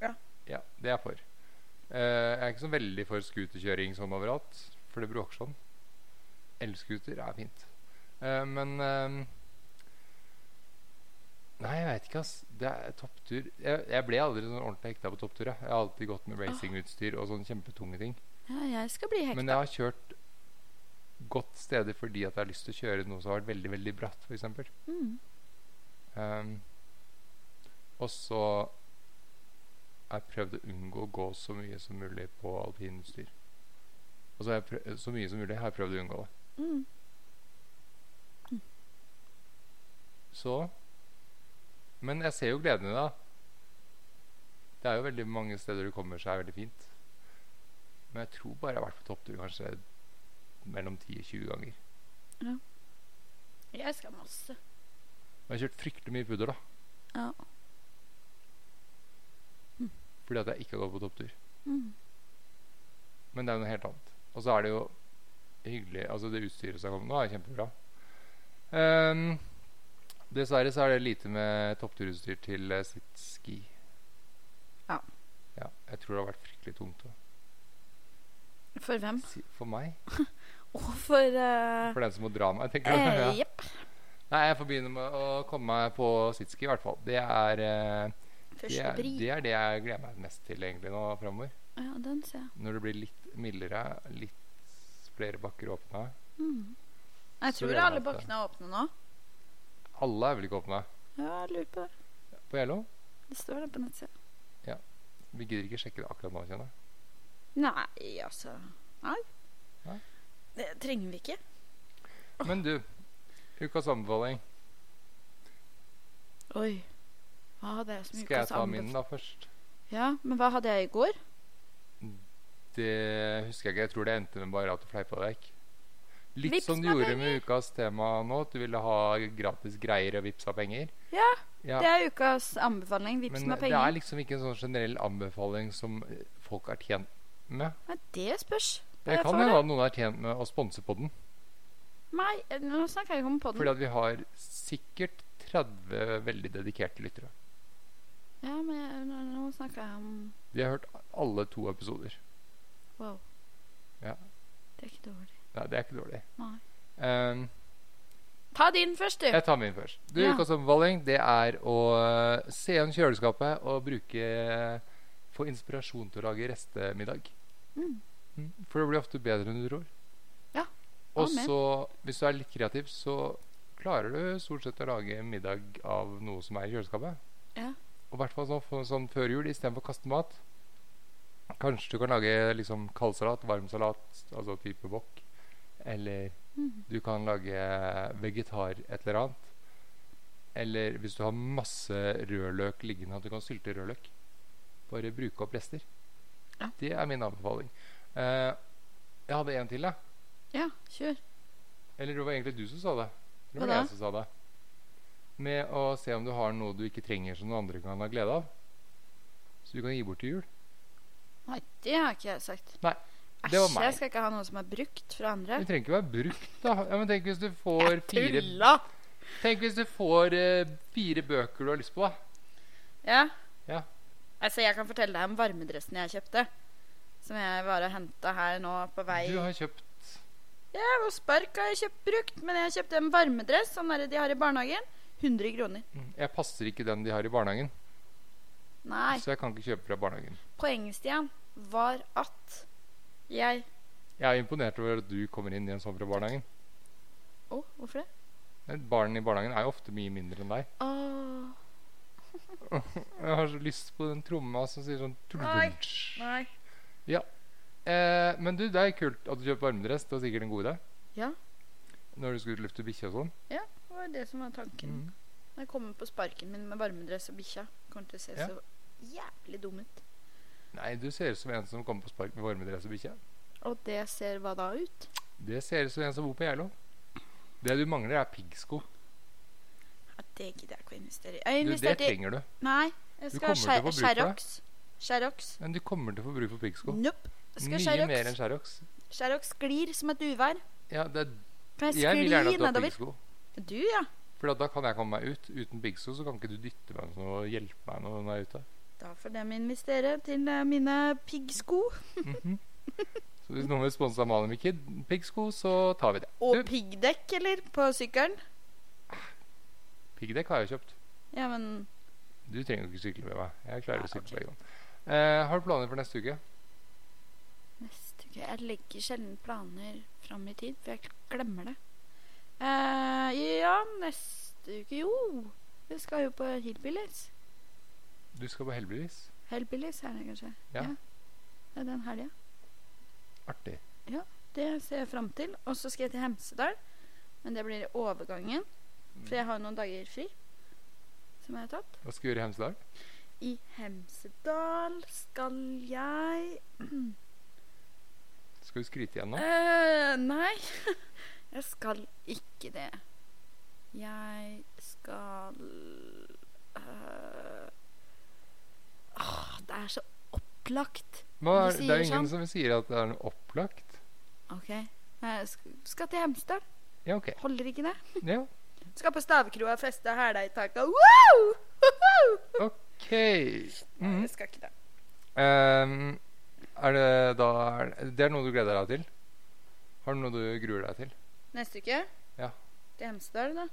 Ja.
ja. Det er jeg for. Eh, Jeg er ikke så veldig for scooterkjøring sånn overalt, for det bråker sånn. Elscooter er fint. Eh, Men eh, Nei, jeg veit ikke, ass. Det er topptur. Jeg, jeg ble aldri sånn ordentlig hekta på topptur. Jeg. jeg har alltid gått
Ah.
med racingutstyr og sånne kjempetunge ting.
Ja, jeg skal bli hekta.
Men jeg har kjørt godt steder fordi at jeg har lyst til å kjøre noe som har vært veldig veldig bratt, f.eks.
Mm.
Um, og så har jeg prøvd å unngå å gå så mye som mulig på alpinutstyr. Og så har jeg prøv, så mye som mulig har jeg prøvd å unngå det.
Mm.
Så Men jeg ser jo gleden i det. da. Det er jo veldig mange steder du kommer seg veldig fint. Men jeg tror bare jeg har vært på topptur kanskje mellom 10 og 20 ganger.
Jeg skal masse.
Og jeg har kjørt fryktelig mye pudder, da. Hm.
Ja. Mm.
Fordi at jeg ikke har gått på topptur.
Mm.
Men det er jo noe helt annet. Og så er det jo hyggelig Altså, det utstyret som har kommet nå, er kjempebra. Ehm, dessverre så er det lite med toppturutstyr til eh, sitt ski.
Ja.
ja. Jeg tror det har vært fryktelig tungt. å
Mm. For hvem?
si- For meg.
Å, for eh,
For den som må dra meg. tenker du?
eh,
Ja.
Jepp.
Nei, jeg får begynne med å komme meg på sitski, i hvert fall. Det er, eh, det,
Første
er,
bri.
det er det jeg gleder meg mest til egentlig nå framover.
Ja, den ser jeg.
Når det blir litt mildere, litt flere bakker åpna.
Mm. Jeg
Så
tror
gleder jeg
alle
meg til det.
bakkene er åpne nå.
Alle er vel ikke åpna
Ja, jeg lurer på det.
på Gjello?
Det står det på nettsida.
Vi gidder ikke sjekke det akkurat nå, kjenner jeg.
Nei, altså Nei.
Nei.
Det trenger vi ikke.
Men du, ukas anbefaling.
Oi. Hva hadde jeg som
Skal jeg
ukas
ta min
anbefaling?
da først?
Ja, men hva hadde jeg i går?
Det husker jeg ikke. Jeg tror det endte med bare at du fleipa deg vekk. Litt
Vips
som du
meg
gjorde med ukas tema nå, at du ville ha gratis greier og vips av penger.
Ja,
Ja,
Det er ukas anbefaling. Vips
Men
meg
det er
penger.
liksom ikke en sånn generell anbefaling som eh, folk er tjent med.
Ja, det spørs.
Det
Jeg
kan
får
hende
det.
at noen er tjent med å sponse på den.
Nei, eh, nå snakker jeg ikke om podden.
Fordi at vi har sikkert 30 veldig dedikerte lyttere.
Ja, men jeg- nå, nå snakker jeg om
De har hørt alle to episoder.
Wow.
Ja.
Det er ikke dårlig.
Nei, det er ikke dårlig.
Nei.
Ehm,
Ta din først, du.
Jeg tar min først. Du,
Ja.
Ukas anbefaling det er å eh, se igjen kjøleskapet og bruke eh, få inspirasjon til å lage restemiddag.
Mm.
Mm, For det blir ofte bedre enn du tror.
Ja,
Og
amen.
så, hvis du er litt kreativ, så klarer du stort sett å lage middag av noe som er i kjøleskapet.
Ja.
Og i hvert fall sånn, for- sånn før jul, istedenfor å kaste mat. Kanskje du kan lage liksom kaldsalat, varmsalat, altså type wok. Eller
Mm.
du kan lage vegetar et eller annet. Eller hvis du har masse rødløk liggende, at du kan sylte rødløk. Bare bruke opp rester.
Ja.
Det er min anbefaling. Eh, jeg hadde en til, da.
Ja, kjør.
Eller det var egentlig du som sa det. Det
Hva
var
da?
jeg som sa det. Med å se om du har noe du ikke trenger som noen andre kan ha glede av. Så du kan gi bort til jul.
Nei, det har ikke jeg sagt.
Nei, det var
Æsj,
meg.
jeg skal ikke ha noe som er brukt fra
Du
andre.
trenger ikke være brukt, da. Ja, men tenk hvis du får
Jeg
fire,
tulla!
tenk hvis du får, eh, fire bøker du har lyst på, da.
Ja.
Ja.
Altså, jeg kan fortelle deg om varmedressen jeg kjøpte. Som jeg bare henta her nå på vei
Du har kjøpt
Ja, og spark har jeg kjøpt brukt, men jeg kjøpte en varmedress, sånn der de har i barnehagen. 100 kroner.
Mm, Jeg passer ikke den de har i barnehagen,
Nei.
så jeg kan ikke kjøpe fra barnehagen.
Poenget, Stian, var at jeg
Jeg er imponert over at du kommer inn i en sånn fra barnehagen.
Å, hvorfor det?
Men Barn i barnehagen er jo ofte mye mindre enn deg.
Åh,
Jeg har så lyst på den tromma som sier sånn
Nei.
trulunch.
nei.
eh, Men du, det er kult at du kjøper varmedress. Det var sikkert en god idé.
Ja.
Når du skal ut og lufte bikkje og sånn.
Det var det som var tanken.
Mm.
Når jeg kommer på sparken min med varmedress og bikkja, kommer det til å se
Ja.
så jævlig dum ut.
Nei, du ser ut som en som kommer på spark med varmedress og bikkje.
Og det ser hva da ut?
Det ser ut som en som bor på Geilo. Det du mangler, er piggsko.
Ja, det gidder jeg ikke å investere i. Jeg
Du, det
investerte i
trenger du.
Nei, jeg
Du
skal
kommer til å
ha
få bruk for det.
Sherrox. Sherrox.
Men du kommer til å få bruk for piggsko.
Nope. Jeg skal
Mye mer enn Sherrox.
Sherrox. Sherrox sklir som et uvær.
Ja, det er,
Kan
jeg
jeg
vil gjerne
skli
at du har
nedover?
piggsko.
Du, ja.
For da kan jeg komme meg ut. Uten piggsko så kan ikke du dytte meg noe og hjelpe meg noe når jeg er ute.
Da får de investere til eh, mine piggsko.
Mhm. Så hvis noen vil sponse Amalie med Kid piggsko, så tar vi det.
Og
Du,
piggdekk, eller? På sykkelen.
Piggdekk har jeg kjøpt.
Ja, men
Du trenger jo ikke sykle med meg. Jeg klarer
Nei,
å sykle
ok.
begge ganger. Eh, har du planer for neste uke?
neste uke Jeg legger sjelden planer fram i tid, for jeg glemmer det. Eh, ja, neste uke Jo, vi skal jo på Hillbillies.
Du skal på Heldigvis.
Hillbillies er det kanskje.
Ja.
Det er den helga.
Artig.
Det ser jeg fram til. Og så skal jeg til Hemsedal. Men det blir i overgangen, for jeg har jo noen dager fri som jeg har tatt.
Hva skal du gjøre i Hemsedal?
I Hemsedal skal jeg
Skal du skryte igjen nå?
Eh, nei, jeg skal ikke det. Jeg skal eh, ah, Det er så opplagt.
Hva er, det er
du
jo
sier
ingen
sånn.
som sier at det er noe opplagt.
OK. Jeg sk- skal til Hemsedal.
Ja, OK.
Holder ikke det?
Ja,
Skal på Stavkroa og feste hæla i taket. Wow!
OK.
Nei,
Mhm.
jeg skal ikke det.
Ehm, er det da er det- Det er noe du gleder deg til? Har du noe du gruer deg til?
Neste uke?
Ja.
Til Hemsedal, da.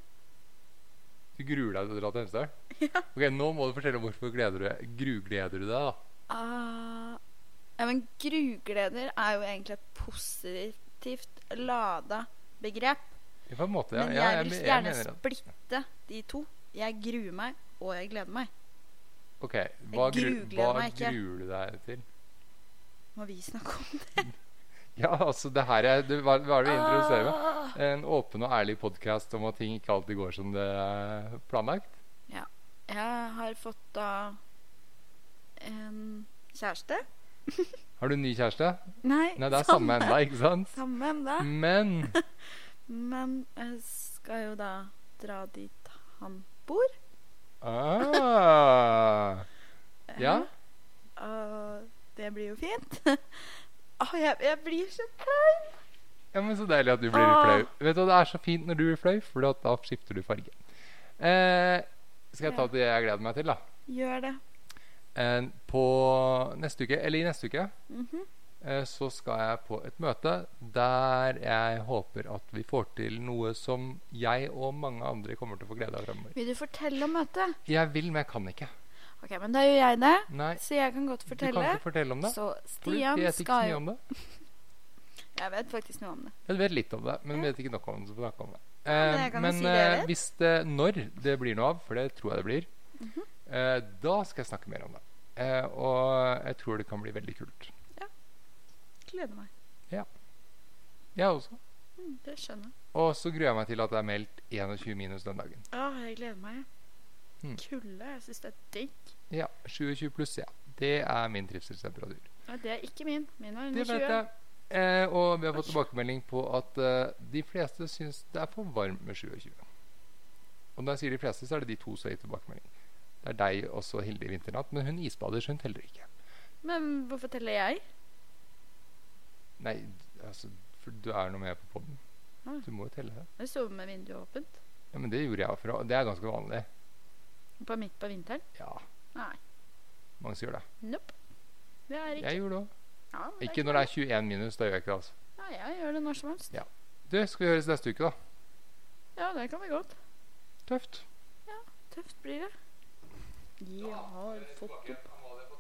Du gruer deg til å dra til Hemsedal?
Ja.
Ok, Nå må du fortelle om hvorfor gleder du, grugleder du deg. da
Ah, ja, men grugleder er jo egentlig et positivt lada begrep.
Ja, På en måte, ja.
men
ja,
jeg vil
me-
gjerne
mener at-
splitte de to. Jeg gruer meg, og jeg gleder meg.
Ok, Hva, gru,
grugleder
hva
meg ikke.
gruer du deg til?
Må vi snakke om det?
Ja, altså, det her er det, Hva hva er det vi introduserer med?
Ah.
En åpen og ærlig podkast om at ting ikke alltid går som det er planlagt.
Jeg har fått da en kjæreste.
Har du en ny kjæreste?
Nei,
Nei, det er samme Mm. enda, ikke sant?
Samme enda.
Men
Men jeg skal jo da dra dit han bor.
ah, Ja?
Eh, Og det blir jo fint. Å, jeg, jeg blir så flau.
Ja, men Så deilig at du blir
Åh.
flau. Vet du, hva, Det er så fint når du blir flau, for da skifter du farge. Eh, skal jeg ta
Ja.
det jeg gleder meg til, da?
Gjør det.
Eh, på neste uke, eller i neste uke,
Mhm.
eh, så skal jeg på et møte der jeg håper at vi får til noe som jeg og mange andre kommer til å få glede av fremover.
Vil du fortelle om møtet?
Jeg vil, men jeg kan ikke.
Ok, men da gjør jeg det.
Nei,
Så jeg kan godt
du kan
fortelle.
ikke fortelle om det.
Så
For du
Stian
vet ikke så
skal
mye
jo
om det.
Jeg vet faktisk noe om det.
Jeg vet litt om det, men
Ja.
vet ikke nok om det. Så får jeg snakke om det.
men
Eh,
jeg kan jo
men
si det jeg
eh,
vet.
hvis det, når det blir noe av, for det tror jeg det blir,
Mhm.
eh, da skal jeg snakke mer om det. Eh, og jeg tror det kan bli veldig kult.
Gleder meg.
Jeg også.
Mm, det skjønner jeg.
Og så gruer jeg meg til at det er meldt 21 minus den dagen.
Å, Ah, jeg gleder meg.
Mm.
Kulde. Jeg syns det er digg.
Ja, 27 pluss, ja. Det er min trivselstemperatur.
Ja, det er ikke min. Min er
Det
under
vet
20.
jeg. Eh, og vi har fått tilbakemelding på at eh, de fleste syns det er for varmt med 27. Og når jeg sier de fleste, så er det de to som har gitt tilbakemelding. Det er deg også, Hilde i Vinternatt, men hun isbader, så hun teller ikke.
Men hvorfor teller jeg?
Nei, altså, for du er nå med på poden.
Ah.
Du må jo telle.
Jeg sover med vinduet åpent.
Ja, men det gjorde jeg fra. Det er ganske vanlig.
På midt på vinteren?
Ja,
Nei.
mange som gjør det.
Nope. Det er ikke
Jeg gjorde det òg.
ja, men
Ikke når det er 21 minus. Da gjør jeg ikke det, altså.
Nei, jeg gjør det når som helst.
Ja. Du, skal vi høres neste uke, da?
Ja, det kan vi godt.
Tøft.
Tøft blir det. Jeg har fått opp
Amalie har fått Eh,